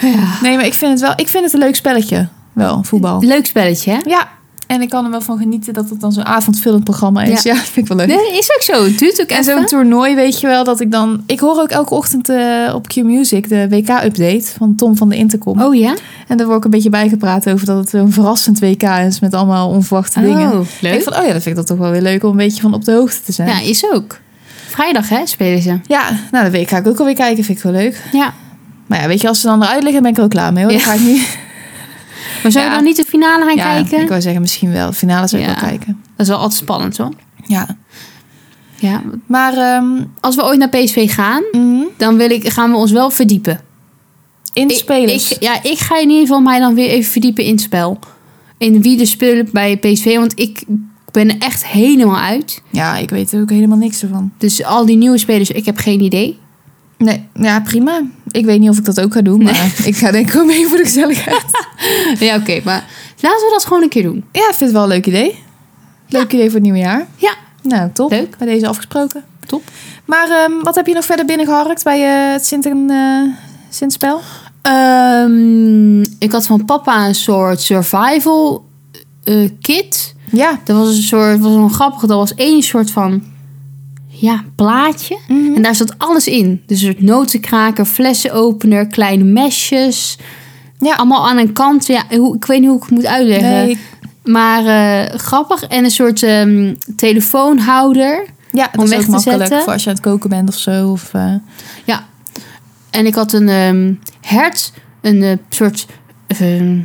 S2: Ja.
S1: Nee, maar ik vind het wel... Ik vind het een leuk spelletje. Wel, voetbal.
S2: Leuk spelletje, hè?
S1: Ja. En ik kan er wel van genieten dat het dan zo'n avondvullend programma is. Ja, vind ik wel leuk.
S2: Nee, is ook zo. Het duurt ook
S1: En zo'n
S2: even.
S1: toernooi weet je wel dat ik dan... Ik hoor ook elke ochtend eh, op Q-Music de WK-update van Tom van de Intercom.
S2: Oh ja?
S1: En daar word ik een beetje bijgepraat over dat het een verrassend WK is met allemaal onverwachte dingen.
S2: Oh,
S1: Ik
S2: leuk.
S1: van, oh ja, dat vind ik dat toch wel weer leuk om een beetje van op de hoogte te zijn.
S2: Ja, is ook. Vrijdag, hè, spelen ze.
S1: Ja, nou, dat weet ik. Ga ik ook alweer kijken. Vind ik wel leuk.
S2: Ja.
S1: Maar ja, weet je, als ze dan eruit liggen, ben ik er ook klaar mee. Hoor. Dan
S2: Ja.
S1: ga ik niet.
S2: Maar zou je
S1: Ja.
S2: dan niet de finale gaan
S1: Ja,
S2: kijken?
S1: ik wou zeggen, misschien wel. Finale zou ik
S2: Ja.
S1: wel kijken.
S2: Dat is wel altijd spannend, hoor.
S1: Ja.
S2: Ja.
S1: Maar ehm,
S2: Als we ooit naar PSV gaan,
S1: mhm,
S2: dan wil ik, gaan we ons wel verdiepen.
S1: in de
S2: Ik-
S1: spelers.
S2: Ik, ja, ik ga in ieder geval mij dan weer even verdiepen in het spel. In wie er spelen bij PSV. Want ik ben er echt helemaal uit.
S1: ja, ik weet er ook helemaal niks ervan.
S2: Dus al die nieuwe spelers, ik heb geen idee.
S1: Nee, ja, prima. Ik weet niet of ik dat ook ga doen, maar ik ga denk ik wel mee voor de gezelligheid.
S2: Ja, oké. maar laten we dat gewoon een keer doen.
S1: Ja, ik vind het wel een leuk idee. Leuk idee voor het nieuwe jaar.
S2: Ja.
S1: Nou, top.
S2: Leuk.
S1: Bij deze afgesproken.
S2: Top.
S1: Maar ehm, wat heb je nog verder binnengeharkt bij eh, het Sint- en, eh, Sint-spel?
S2: Ehm, ik had van papa een soort survival eh, kit.
S1: Ja.
S2: Dat was een soort, was een grappige. Dat was één soort van ja, plaatje.
S1: Mhm.
S2: En daar zat alles in. Dus een soort notenkraker, flessenopener, kleine mesjes.
S1: Ja.
S2: Allemaal aan een kant. Ja, hoe, ik weet niet hoe ik het moet uitleggen.
S1: Nee,
S2: Maar eh, grappig. En een soort ehm, telefoonhouder.
S1: Ja, dat
S2: om
S1: is
S2: weg
S1: ook
S2: te
S1: makkelijk
S2: zetten.
S1: voor als je aan het koken bent of zo. Of, eh,
S2: Ja. En ik had een ehm hert, een eh, soort ehm,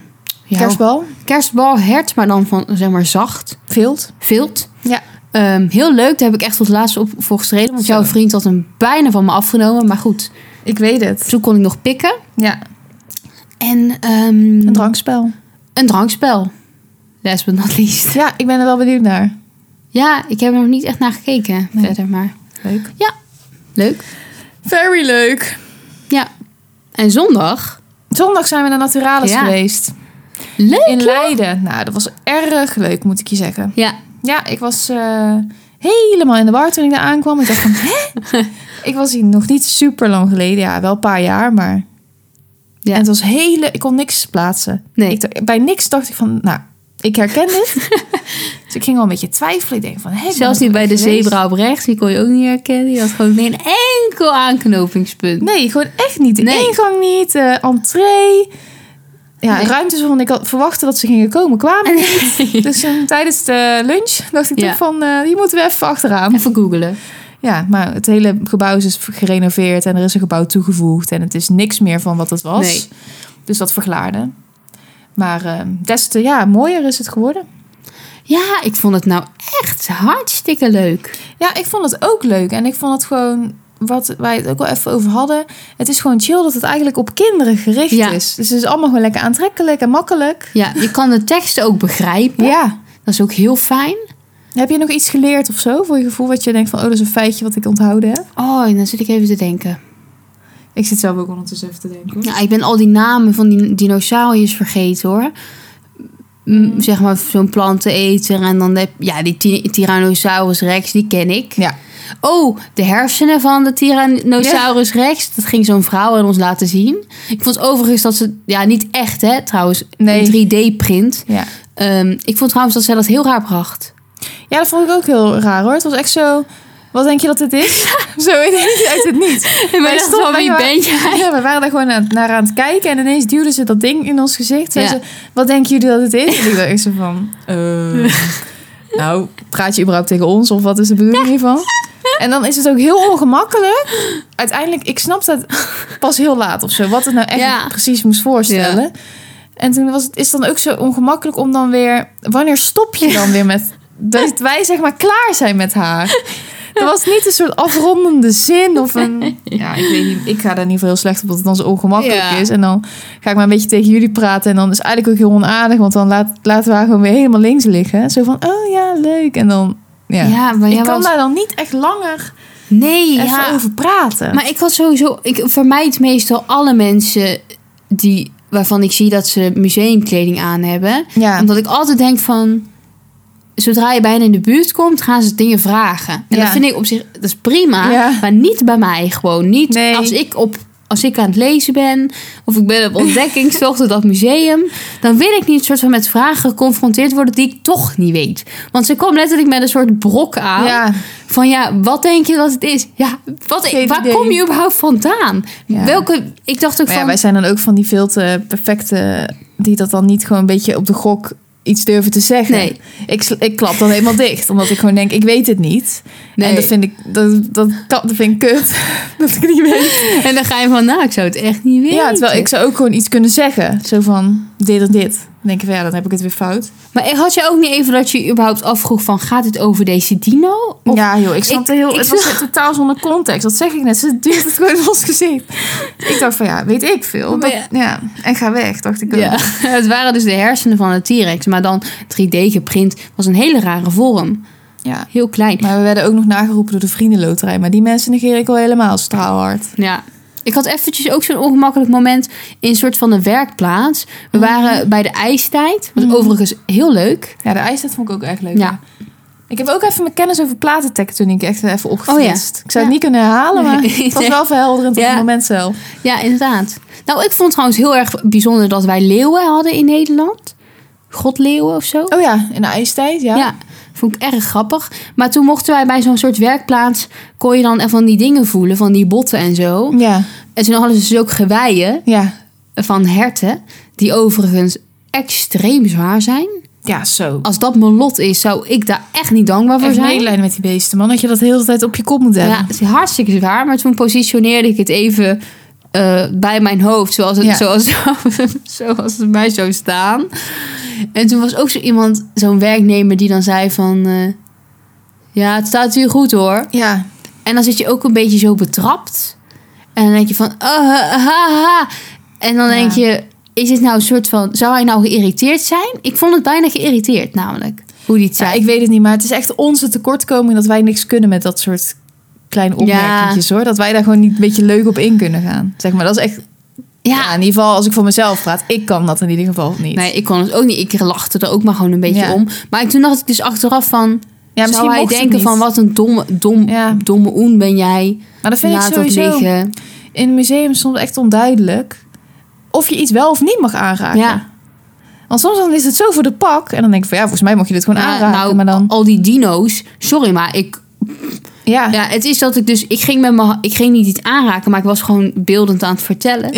S2: ja,
S1: Kerstbal,
S2: kerstbal hert, maar dan van zeg maar zacht
S1: vilt.
S2: vilt.
S1: Ja.
S2: Ehm, heel leuk, daar heb ik echt tot laatst op voor gestreden. Want
S1: Zo.
S2: jouw vriend had hem bijna van me afgenomen. Maar goed,
S1: Ik weet het.
S2: toen kon ik nog pikken.
S1: Ja,
S2: En ehm,
S1: een drankspel.
S2: een drankspel. Last but not least.
S1: Ja, ik ben er wel benieuwd naar.
S2: Ja, ik heb er nog niet echt naar gekeken
S1: Nee.
S2: verder, maar
S1: Leuk.
S2: leuk.
S1: Very leuk.
S2: Ja. En zondag?
S1: Zondag zijn we naar Naturalis
S2: Ja.
S1: geweest.
S2: Leuk!
S1: In Leiden. Nou, dat was erg leuk, moet ik je zeggen.
S2: Ja,
S1: Ja, ik was eh, helemaal in de war toen ik daar aankwam. Ik dacht van, hè? ik was hier nog niet super lang geleden. Ja, wel een paar jaar, maar...
S2: Ja.
S1: En het was hele... Ik kon niks plaatsen.
S2: Nee.
S1: Ik dacht- bij niks dacht ik van, nou, ik herken dit. dus ik ging wel een beetje twijfelen. Ik denk van, hè? ik ben
S2: Zelfs
S1: er
S2: niet
S1: toch
S2: bij de
S1: geweest?
S2: zebra op rechts, die kon je ook niet herkennen. Die had gewoon geen enkel aanknopingspunt.
S1: Nee, gewoon echt niet. De
S2: Nee.
S1: ingang niet, de entree. Ja,
S2: Nee.
S1: ruimtes waarvan ik had verwachtte dat ze gingen komen,
S2: Nou,
S1: kwamen niet. Dus toen tijdens de lunch dacht ik
S2: Ja.
S1: toch van, eh hier moeten we even achteraan.
S2: Even googelen.
S1: Ja, maar het hele gebouw is dus gerenoveerd en er is een gebouw toegevoegd. En het is niks meer van wat het was.
S2: Nee.
S1: ehm, Dus dat verklaarde. Maar eh, des te ja, mooier is het geworden.
S2: Ja, ik vond het nou echt hartstikke leuk.
S1: Ja, ik vond het ook leuk. En ik vond het gewoon, wat wij het ook al even over hadden. Het is gewoon chill dat het eigenlijk op kinderen gericht
S2: Ja.
S1: is. Dus het is allemaal gewoon lekker aantrekkelijk en makkelijk.
S2: Ja, je kan de teksten ook begrijpen.
S1: Ja.
S2: Dat is ook heel fijn.
S1: Heb je nog iets geleerd of zo? Voor je gevoel wat je denkt van, oh, dat is een feitje wat ik onthouden heb.
S2: Oh, en dan zit ik even te denken.
S1: Ik zit zelf ook ondertussen even te denken.
S2: Ja, ik ben al die namen van die dinosauriërs vergeten hoor.
S1: Mm.
S2: M, Zeg maar zo'n planteneter en dan de, ja, die ty- Tyrannosaurus Rex, die ken ik.
S1: Ja.
S2: Oh, de hersenen van de Tyrannosaurus Rex. Dat ging zo'n vrouw aan ons laten zien. Ik vond overigens dat ze, ja, niet echt hè, trouwens,
S1: Nee.
S2: een 3D-print.
S1: Ja.
S2: Ehm, ik vond trouwens dat zij dat heel raar bracht.
S1: ja, dat vond ik ook heel raar hoor. Het was echt zo, wat denk je dat dit is? zo ineens uit het niet.
S2: En
S1: wij
S2: wij
S1: dachten,
S2: dachten van,
S1: wij
S2: wie
S1: waren-
S2: ben jij?
S1: Ja, we waren daar gewoon aan- naar aan het kijken en ineens duwden ze dat ding in ons gezicht.
S2: Ja.
S1: Zeiden ze, wat denken jullie dat het is? En ik dacht echt zo van, eh, nou, praat je überhaupt tegen ons of wat is de bedoeling hiervan? En dan is het ook heel ongemakkelijk. Uiteindelijk, ik snap dat pas heel laat of zo, wat het nou echt
S2: Ja.
S1: precies moest voorstellen. En toen was het, is het dan ook zo ongemakkelijk om dan weer, wanneer stop je dan weer met, dat wij zeg maar klaar zijn met haar? Er was niet een soort afrondende zin of een... Ja, ik weet niet. Ik ga daar in ieder geval heel slecht op, dat het dan zo ongemakkelijk
S2: Ja.
S1: is. En dan ga ik maar een beetje tegen jullie praten. En dan is het eigenlijk ook heel onaardig, want dan laat, laten we haar gewoon weer helemaal links liggen. Zo van, oh ja, leuk. En dan, ja.
S2: maar jij
S1: ik kan
S2: was-
S1: daar dan niet echt langer
S2: Nee,
S1: even
S2: ja.
S1: over praten.
S2: Maar ik had sowieso, ik vermijd meestal alle mensen die, waarvan ik zie dat ze museumkleding aan hebben.
S1: ja.
S2: Omdat ik altijd denk van, zodra je bijna in de buurt komt, gaan ze dingen vragen. En
S1: Ja.
S2: dat vind ik op zich, dat is prima.
S1: Ja.
S2: Maar niet bij mij gewoon. Niet
S1: Nee.
S2: als ik op... Als ik aan het lezen ben, of ik ben op ontdekkingstocht op dat museum, dan wil ik niet soort van met vragen geconfronteerd worden die ik toch niet weet. Want ze kwam letterlijk met een soort brok aan.
S1: ja.
S2: Van ja, wat denk je dat het is? Ja, wat,
S1: Geen
S2: waar
S1: idee.
S2: kom je überhaupt vandaan?
S1: Ja.
S2: Welke, ik dacht ook
S1: Maar
S2: van...
S1: ja, wij zijn dan ook van die veel te perfecte... die dat dan niet gewoon een beetje op de gok iets durven te zeggen.
S2: Nee.
S1: Ik, sl- ik klap dan helemaal dicht. Omdat ik gewoon denk, ik weet het niet.
S2: nee.
S1: En dat vind ik, dat, dat, kan- dat vind ik kut. dat ik het niet weet.
S2: en dan ga je van, nou, ik zou het echt niet weten.
S1: Ja, terwijl ik zou ook gewoon iets kunnen zeggen. Zo van, dit en dit. Dan denk ik, van, ja, dan heb ik het weer fout.
S2: Maar had je ook niet even dat je überhaupt afvroeg van... gaat het over deze dino? Of-
S1: ja, joh, ik
S2: ik-
S1: snapte heel...
S2: ik
S1: het was totaal zonder context. Dat zeg ik net. Ze duwt het gewoon in ons gezicht. Ik dacht van, ja, weet ik veel.
S2: Maar
S1: Dat- ja. en ga weg, dacht ik ook.
S2: Ja, het waren dus de hersenen van een T-Rex. Maar dan 3D geprint was een hele rare vorm.
S1: Ja.
S2: Heel klein.
S1: Maar we werden ook nog nageroepen door de vriendenloterij. Maar die mensen negeer ik al helemaal straalhard.
S2: Ja. Ik had eventjes ook zo'n ongemakkelijk moment in een soort van een werkplaats. We
S1: Mhm.
S2: waren bij de ijstijd. Was
S1: Mhm.
S2: overigens heel leuk.
S1: Ja, de ijstijd vond ik ook echt leuk.
S2: Ja.
S1: Ik heb ook even mijn kennis over platentectoniek echt even opgefrist. Ik zou
S2: Oh Ja.
S1: het niet kunnen herhalen, maar
S2: Nee.
S1: het was wel verhelderend op
S2: Ja.
S1: het moment zelf.
S2: Ja, inderdaad. Nou, ik vond trouwens heel erg bijzonder dat wij leeuwen hadden in Nederland. Godleeuwen of zo.
S1: Oh ja, in de ijstijd, ja.
S2: vond ik erg grappig. Maar toen mochten wij bij zo'n soort werkplaats... kon je dan van die dingen voelen, van die botten en zo.
S1: Ja,
S2: En toen hadden ze dus ook geweien
S1: ja.
S2: van herten... die overigens extreem zwaar zijn.
S1: Ja, zo.
S2: Als dat mijn lot is, zou ik daar echt niet dankbaar Oh, voor
S1: Echt
S2: zijn.
S1: medelijden met die beesten, man. Dat je dat de hele tijd op je kop moet hebben.
S2: Ja, het is hartstikke zwaar. Maar toen positioneerde ik het even eh, bij mijn hoofd. Zoals het,
S1: Ja.
S2: zoals, zoals het mij zou staan. En toen was ook zo iemand, zo'n werknemer, die dan zei van... eh, ja, het staat hier goed hoor.
S1: Ja.
S2: En dan zit je ook een beetje zo betrapt. En dan denk je van... ah, ha, ha, ha. En dan
S1: Ja.
S2: denk je... Is het nou een soort van... Zou hij nou geïrriteerd zijn? Ik vond het bijna geïrriteerd namelijk. Hoe die het zei.
S1: ik weet het niet, maar het is echt onze tekortkoming dat wij niks kunnen met dat soort kleine opmerkingen, hoor. Dat wij daar gewoon niet een beetje leuk op in kunnen gaan. Zeg maar, dat is echt... Ja, in ieder geval als ik voor mezelf praat. Ik kan dat in ieder geval niet.
S2: Nee, ik kon het ook niet. Ik lachte er ook maar gewoon een beetje
S1: Ja.
S2: om. Maar ik- toen dacht ik dus achteraf van...
S1: ja,
S2: zou hij
S1: mocht het
S2: denken
S1: niet.
S2: van wat een domme, dom,
S1: Ja.
S2: domme oen ben jij.
S1: Maar dat vind
S2: Laat
S1: ik
S2: dat
S1: sowieso
S2: liggen.
S1: in museums soms echt onduidelijk. Of je iets wel of niet mag aanraken.
S2: Ja.
S1: Want soms dan is het zo voor de pak. En dan denk ik van ja, volgens mij mag je dit gewoon
S2: Ja,
S1: aanraken.
S2: nou,
S1: maar dan,
S2: al die dino's. Sorry, maar ik...
S1: ja.
S2: Ja, het is dat ik dus... Ik ging, met mijn, ik ging niet iets aanraken, maar ik was gewoon beeldend aan het vertellen.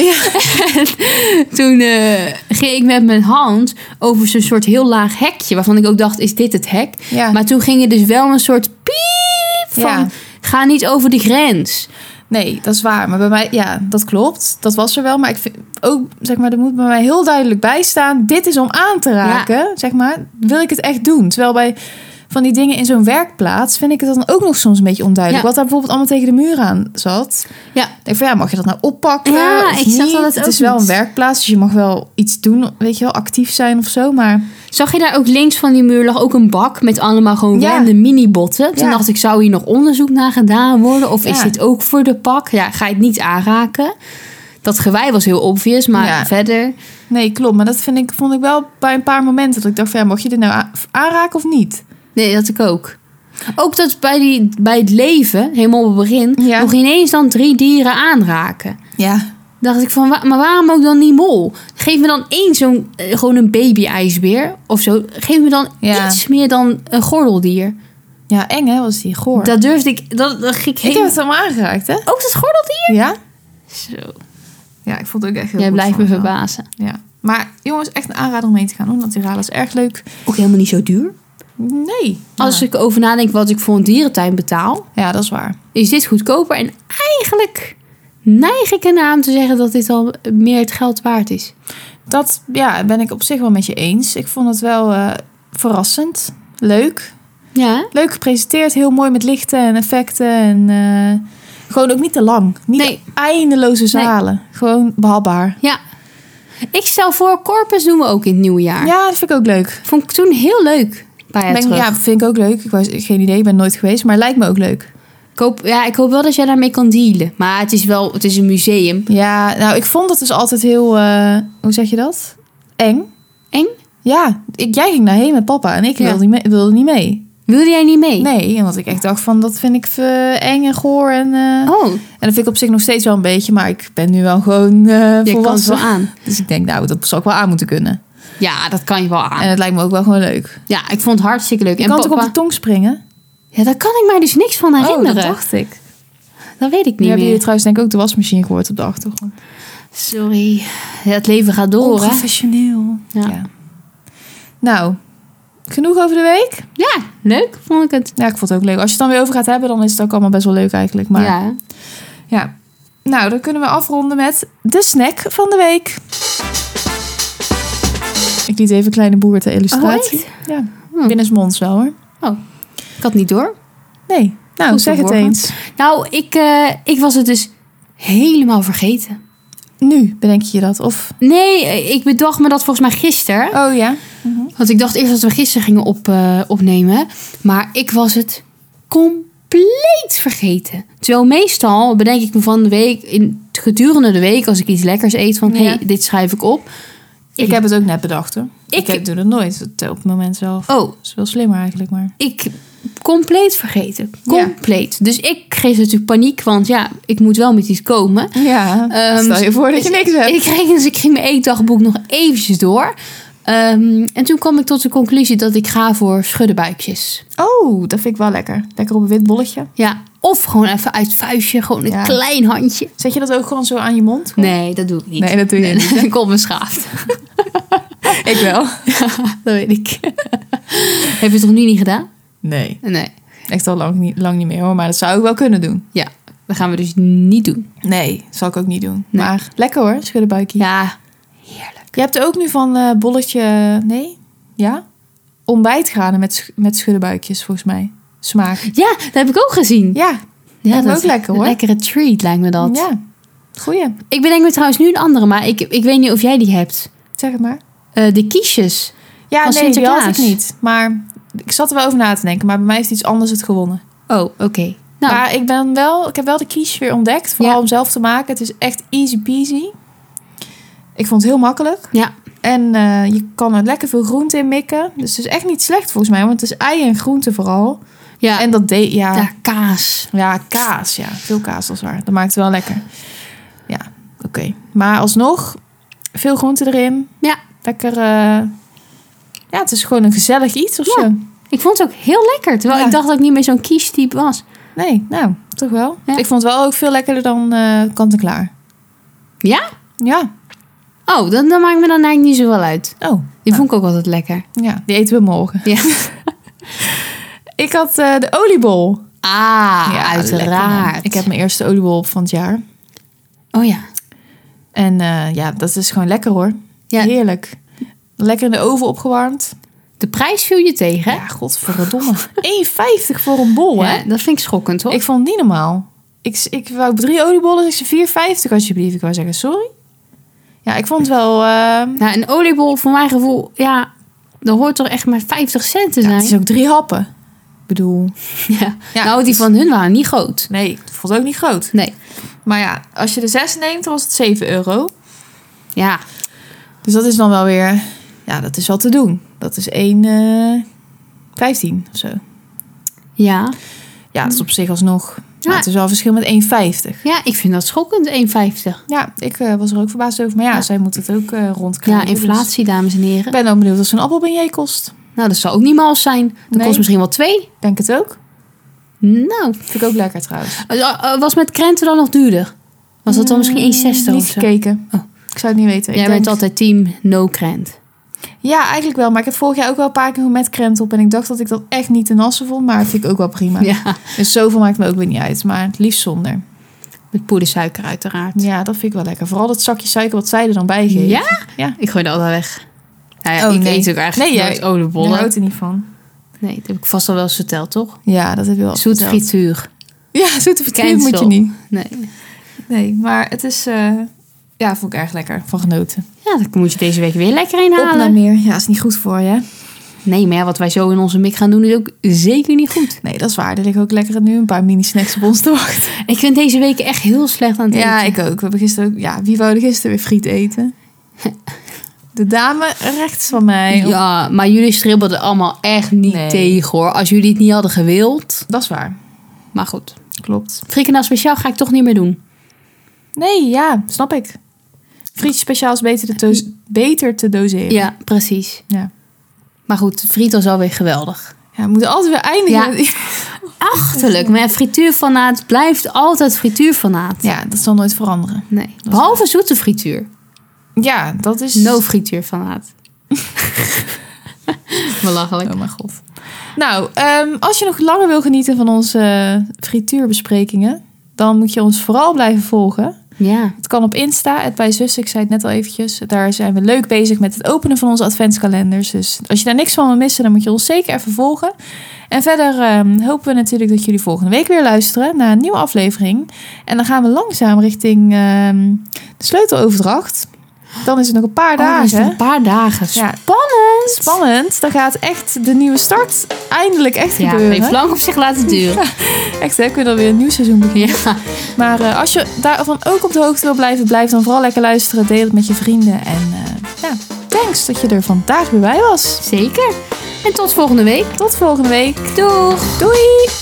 S2: Toen eh, ging ik met mijn hand over zo'n soort heel laag hekje. Waarvan ik ook dacht, is dit het hek?
S1: Ja.
S2: Maar toen ging er dus wel een soort piep van...
S1: Ah. Ja.
S2: Ga niet over de grens.
S1: Nee, dat is waar. Maar bij mij, ja, dat klopt. Dat was er wel. Maar ik vind ook, zeg maar, er moet bij mij heel duidelijk bij staan. Dit is om aan te raken, zeg maar. Wil ik het echt doen? Terwijl bij van die dingen in zo'n werkplaats vind ik het dan ook nog soms een beetje onduidelijk.
S2: Ja.
S1: Wat daar bijvoorbeeld allemaal tegen de muur aan zat.
S2: Ja.
S1: Ik denk van ja, mag je dat nou oppakken?
S2: Ja,
S1: of
S2: ik snap
S1: niet?
S2: dat het
S1: Het
S2: ook
S1: is wel een
S2: niet.
S1: werkplaats, dus je mag wel iets doen, weet je wel, actief zijn of zo. Maar
S2: Zag je daar ook links van die muur lag ook een bak met allemaal gewoon
S1: Ja.
S2: random mini-botten. Toen
S1: Ja.
S2: dacht ik, zou hier nog onderzoek naar gedaan worden? Of is
S1: Ja.
S2: dit ook voor de pak? Ja, ga je het niet aanraken? Dat gewei was heel obvious, maar
S1: Ja.
S2: verder...
S1: nee, klopt. Maar dat vind ik, vond ik wel bij een paar momenten dat ik dacht van ja, mag je dit nou a- aanraken of niet?
S2: Nee, dat ik ook. Ook dat bij, die, bij het leven, helemaal op het begin,
S1: Ja.
S2: nog ineens dan drie dieren aanraken.
S1: Ja.
S2: Dacht ik van, wa- maar waarom ook dan die mol? Geef me dan één zo'n, eh, gewoon een baby-ijsbeer of zo. Geef me dan
S1: Ja.
S2: iets meer dan een gordeldier.
S1: Ja, eng hè, was die goor.
S2: Dat durfde ik, dat, dat ging
S1: ik
S2: ik
S1: heb
S2: helemaal...
S1: het allemaal aangeraakt, hè?
S2: Ook dat gordeldier?
S1: Ja?
S2: Zo.
S1: Ja, ik vond het ook echt heel
S2: Jij
S1: goed
S2: blijft me
S1: van mezelf.
S2: verbazen.
S1: Ja. Maar jongens, echt een aanrader om heen te gaan doen. Want Tirana is erg leuk.
S2: Ook helemaal niet zo duur.
S1: Nee.
S2: Als
S1: ja.
S2: ik over nadenk wat ik voor een dierentuin betaal,
S1: ja, dat is waar.
S2: is dit goedkoper. En eigenlijk neig ik ernaar om te zeggen dat dit al meer het geld waard is.
S1: Dat ja, ben ik op zich wel met je eens. Ik vond het wel eh, verrassend. Leuk.
S2: Ja.
S1: Leuk gepresenteerd. Heel mooi met lichten en effecten. En eh, gewoon ook niet te lang. Niet
S2: Nee.
S1: eindeloze zalen. Gewoon behapbaar.
S2: Ja. Ik stel voor, Corpus doen we ook in het nieuwe jaar.
S1: Ja, dat vind ik ook leuk.
S2: Vond ik toen heel leuk bij het
S1: Ben-
S2: terug.
S1: ja, vind ik ook leuk. Ik was geen idee, ik ben nooit geweest. Maar lijkt me ook leuk.
S2: Ik, hoop, ja, ik hoop wel dat jij daarmee kan dealen. Maar het is wel, het is een museum.
S1: Ja, nou, ik vond het dus altijd heel... eh, hoe zeg je dat? Eng.
S2: Eng?
S1: Ja, ik, jij ging daarheen met papa en ik
S2: Ja.
S1: wilde, niet mee, wilde niet mee.
S2: Wilde jij niet mee?
S1: Nee, omdat ik echt dacht van, dat vind ik eh, eng en goor. En, eh,
S2: Oh,
S1: en dat vind ik op zich nog steeds wel een beetje, maar ik ben nu wel gewoon eh
S2: je kan het
S1: volwassen.
S2: wel aan.
S1: Dus ik denk, nou, dat zal ik wel aan moeten kunnen.
S2: Ja, dat kan je wel aan.
S1: En het lijkt me ook wel gewoon leuk.
S2: Ja, ik vond het hartstikke leuk.
S1: Ah. Je
S2: en
S1: kan
S2: papa...
S1: toch op de tong springen?
S2: Ja, daar kan ik mij dus niks van herinneren.
S1: Oh, dat dacht ik.
S2: Dat weet
S1: Nu
S2: ik niet
S1: hebben jullie
S2: meer.
S1: trouwens denk ik ook de wasmachine gehoord op de achtergrond.
S2: Sorry. Ja, het leven gaat door, hè?
S1: Professioneel.
S2: Ja.
S1: ja. Nou, genoeg over de week?
S2: Ja, leuk vond ik het.
S1: Ja, ik vond het ook leuk. Als je het dan weer over gaat hebben, dan is het ook allemaal best wel leuk eigenlijk. Maar ja.
S2: Ja.
S1: Nou, dan kunnen we afronden met de snack van de week. Ik liet even kleine boer ter illustratie.
S2: Oh,
S1: ja,
S2: Hm.
S1: binnensmonds wel hoor.
S2: Ik had niet door.
S1: Nee, nou
S2: Goed
S1: zeg het
S2: verborgen.
S1: eens.
S2: Nou, ik, eh, ik was het dus helemaal vergeten.
S1: Nu bedenk je dat? Of,
S2: Nee, eh, ik bedacht me dat volgens mij gisteren.
S1: oh ja.
S2: Want ik dacht eerst dat we gisteren gingen op, eh, opnemen. Maar ik was het compleet vergeten. Terwijl meestal bedenk ik me van de week, in, gedurende de week, als ik iets lekkers eet, van
S1: Ja.
S2: hé, hey, dit schrijf ik op.
S1: Ik, heb het ook net bedacht hoor. Ik,
S2: Ik-
S1: heb- doe dat nooit het- op het moment zelf.
S2: Oh,
S1: Dat is wel slimmer eigenlijk, maar...
S2: ik compleet vergeten.
S1: Ja.
S2: Compleet. Dus ik kreeg natuurlijk paniek, want ja, ik moet wel met iets komen.
S1: Ja,
S2: Ehm,
S1: stel je voor dat je
S2: dus
S1: niks hebt.
S2: Ik kreeg dus ik ging mijn eetdagboek nog eventjes door. Ehm, en toen kwam ik tot de conclusie dat ik ga voor schuddenbuikjes.
S1: oh, dat vind ik wel lekker. Lekker op een wit bolletje.
S2: Ja, of gewoon even uit vuistje, gewoon een
S1: Ja.
S2: klein handje.
S1: Zet je dat ook gewoon zo aan je mond?
S2: Nee, dat doe ik niet.
S1: Nee, dat doe je niet.
S2: ik kom beschaafd.
S1: Ik wel.
S2: Dat weet ik. Heb je het toch nu niet gedaan?
S1: Nee,
S2: Nee.
S1: echt al lang niet, lang niet meer hoor. Maar dat zou ik wel kunnen doen.
S2: Ja, dat gaan we dus niet doen.
S1: Nee, zal ik ook niet doen.
S2: Nee.
S1: Maar lekker hoor, schuddenbuikje.
S2: Ja, heerlijk.
S1: Je hebt er ook nu van eh, bolletje... Nee? Ja? Ontbijtgranen met, sch- met schuddenbuikjes volgens mij. Smaak.
S2: Ja, dat heb ik ook gezien.
S1: Ja,
S2: Ja,
S1: Lijkt me ook lekker, hoor.
S2: Een lekkere treat lijkt me dat.
S1: ja. Goeie.
S2: Ik bedenk me trouwens nu een andere, maar ik, ik weet niet of jij die hebt.
S1: Zeg het maar.
S2: Eh, de kiesjes.
S1: Ja,
S2: Van
S1: nee, die had ik
S2: Sinterklaas.
S1: niet. Maar ik zat er wel over na te denken. Maar bij mij heeft iets anders het gewonnen.
S2: Oh, oké. Nou,
S1: Maar ik, ben wel, ik heb wel de quiche weer ontdekt. Vooral
S2: Ja.
S1: om zelf te maken. Het is echt easy peasy. Ik vond het heel makkelijk.
S2: Ja.
S1: En eh, je kan er lekker veel groente in mikken. Dus het is echt niet slecht volgens mij. Want het is ei en groente vooral.
S2: ja, en
S1: En Ah. dat deed... Ja, ja.
S2: ja, kaas.
S1: kaas. Ja, veel kaas als waar. Dat maakt het wel lekker. Ja, oké. Maar alsnog, veel groente erin.
S2: Ja.
S1: Lekker... eh, ja, het is gewoon een gezellig iets of
S2: Ja.
S1: zo.
S2: Ik vond het ook heel lekker, terwijl
S1: Ja.
S2: ik dacht dat ik niet meer zo'n kiestype was.
S1: Nee, nou, toch wel.
S2: Ja.
S1: Ik vond het wel ook veel lekkerder dan eh, kant-en-klaar.
S2: Ja?
S1: Ja.
S2: Oh, dat, dat maakt me dan eigenlijk niet zoveel uit.
S1: Oh,
S2: Die
S1: Nou.
S2: vond ik ook altijd lekker.
S1: ja. Die eten we morgen.
S2: Ja.
S1: Ik had eh, de oliebol.
S2: Ah,
S1: lekker, man.
S2: uiteraard.
S1: Ik heb mijn eerste oliebol van het jaar.
S2: Oh ja.
S1: En eh, ja, dat is gewoon lekker hoor.
S2: ja.
S1: Heerlijk. Lekker in de oven opgewarmd.
S2: De prijs viel je tegen, hè?
S1: Ja, godverdomme. 1,50 voor een bol, hè?
S2: Ja, dat vind ik schokkend, hoor.
S1: Ik vond het niet normaal. Ik, ik wou drie oliebollen, ik zei 4,50 alsjeblieft. Ik wou zeggen, sorry. Ja, ik vond het wel... eh,
S2: Nou, een oliebol, voor mijn gevoel, ja, dat hoort toch echt maar 50 cent te
S1: ja,
S2: zijn.
S1: het is ook drie happen. Ik bedoel...
S2: Ja.
S1: Ja.
S2: Nou, die van hun waren niet groot.
S1: Nee, ik vond het ook niet groot.
S2: Nee.
S1: Maar ja, als je de zes neemt, dan was het 7 euro.
S2: Ja.
S1: Dus dat is dan wel weer... Ja, dat is wel te doen. Dat is 1,15 of zo.
S2: Ja.
S1: Ja, dat is op zich alsnog...
S2: Ja.
S1: Maar het is wel een verschil met 1,50.
S2: Ja, ik vind dat schokkend, 1,50.
S1: Ja, ik eh, was er ook verbaasd over. Maar ja,
S2: Ja.
S1: zij moet het ook eh rondkrijgen.
S2: Ja,
S1: dus-
S2: inflatie, dames en
S1: Ik
S2: heren.
S1: ben ook benieuwd wat zo'n appelbeignet kost.
S2: Nou, dat zal ook niet mals zijn. Dat
S1: Nee.
S2: kost misschien wel twee.
S1: Ik Denk het ook.
S2: Nou,
S1: Vind ik ook lekker trouwens.
S2: eh, eh, was met krenten dan nog duurder? Was dat dan misschien 1,60
S1: Mm, Niet
S2: of zo?
S1: gekeken.
S2: Oh.
S1: Ik zou het niet weten. Ik
S2: Jij
S1: denk-
S2: bent altijd team no krent.
S1: Ja, eigenlijk wel. Maar ik heb vorig jaar ook wel een paar keer met krent op. En ik dacht dat ik dat echt niet ten assen vond. Maar dat vind ik ook wel prima.
S2: Ja,
S1: Dus zoveel maakt me ook weer niet uit. Maar het liefst zonder.
S2: met poedersuiker uiteraard.
S1: Ja, dat vind ik wel lekker. Vooral dat zakje suiker wat zij er dan bij geeft.
S2: Ja?
S1: Ja.
S2: Ik gooi dat altijd weg. Nou ja,
S1: Oh,
S2: ik
S1: nee.
S2: eet ook eigenlijk
S1: Nee, jij-
S2: nooit
S1: Daar
S2: oliebollen.
S1: houdt er niet van.
S2: Nee, dat heb ik vast al wel eens verteld, toch?
S1: Ja, dat heb je wel eens
S2: Zoet
S1: verteld.
S2: frituur.
S1: Ja, zoete frituur
S2: Cancel.
S1: moet je niet.
S2: Nee.
S1: Nee, maar het is... eh, Ja, vond ik erg lekker. Van genoten.
S2: Ja, dan moet je deze week weer lekker een
S1: Op naar
S2: halen.
S1: meer. Ja, is niet goed voor je. hè?
S2: Nee, maar ja, wat wij zo in onze mik gaan doen is ook zeker niet goed.
S1: Nee, dat is waar. Er liggen ook lekker nu een paar mini-snacks op ons te wachten.
S2: Ik vind deze week echt heel slecht aan het eten.
S1: Ja, ik ook. We hebben gisteren ook... Ja, wie wou er gisteren weer friet eten? De dame rechts van mij.
S2: Ja, maar jullie stribbelden allemaal echt niet
S1: Nee.
S2: tegen hoor. Als jullie het niet hadden gewild.
S1: Dat is waar.
S2: Maar goed.
S1: Klopt.
S2: Frikandel speciaal ga ik toch niet meer doen.
S1: Nee, ja, snap ik. Frietje speciaal is beter te, doos- beter te doseren.
S2: Ja, precies.
S1: Ja.
S2: Maar goed, friet was alweer geweldig.
S1: Ja, we moeten altijd weer eindigen.
S2: Ja.
S1: met iets.
S2: Achterlijk, maar ja, frituurfanaat blijft altijd frituurfanaat.
S1: Ja, dat zal nooit veranderen.
S2: Nee. Behalve zoete frituur.
S1: Ja, dat is...
S2: No frituurfanaat. Belachelijk.
S1: Oh mijn god. Nou, ehm, als je nog langer wil genieten van onze eh, frituurbesprekingen... dan moet je ons vooral blijven volgen.
S2: Ja.
S1: Het kan op Insta, het bij zus. Ik zei het net al eventjes. Daar zijn we leuk bezig met het openen van onze adventskalenders. Dus als je daar niks van wil missen, dan moet je ons zeker even volgen. En verder ehm, hopen we natuurlijk dat jullie volgende week weer luisteren naar een nieuwe aflevering. En dan gaan we langzaam richting ehm, de sleuteloverdracht. Dan is het nog een paar
S2: Oh, dat is
S1: dagen.
S2: een paar dagen.
S1: Ja. Spannend. Dan gaat echt de nieuwe start eindelijk echt
S2: Ja, heeft
S1: gebeuren.
S2: lang op zich laten duren.
S1: Echt, hè? Kunnen we dan weer een nieuw seizoen beginnen.
S2: Ja.
S1: Maar eh, als je daarvan ook op de hoogte wil blijven, blijf dan vooral lekker luisteren. Deel het met je vrienden. En eh, ja, thanks dat je er vandaag weer bij was.
S2: Zeker. En tot volgende week.
S1: Tot volgende week.
S2: Doeg!
S1: Doei!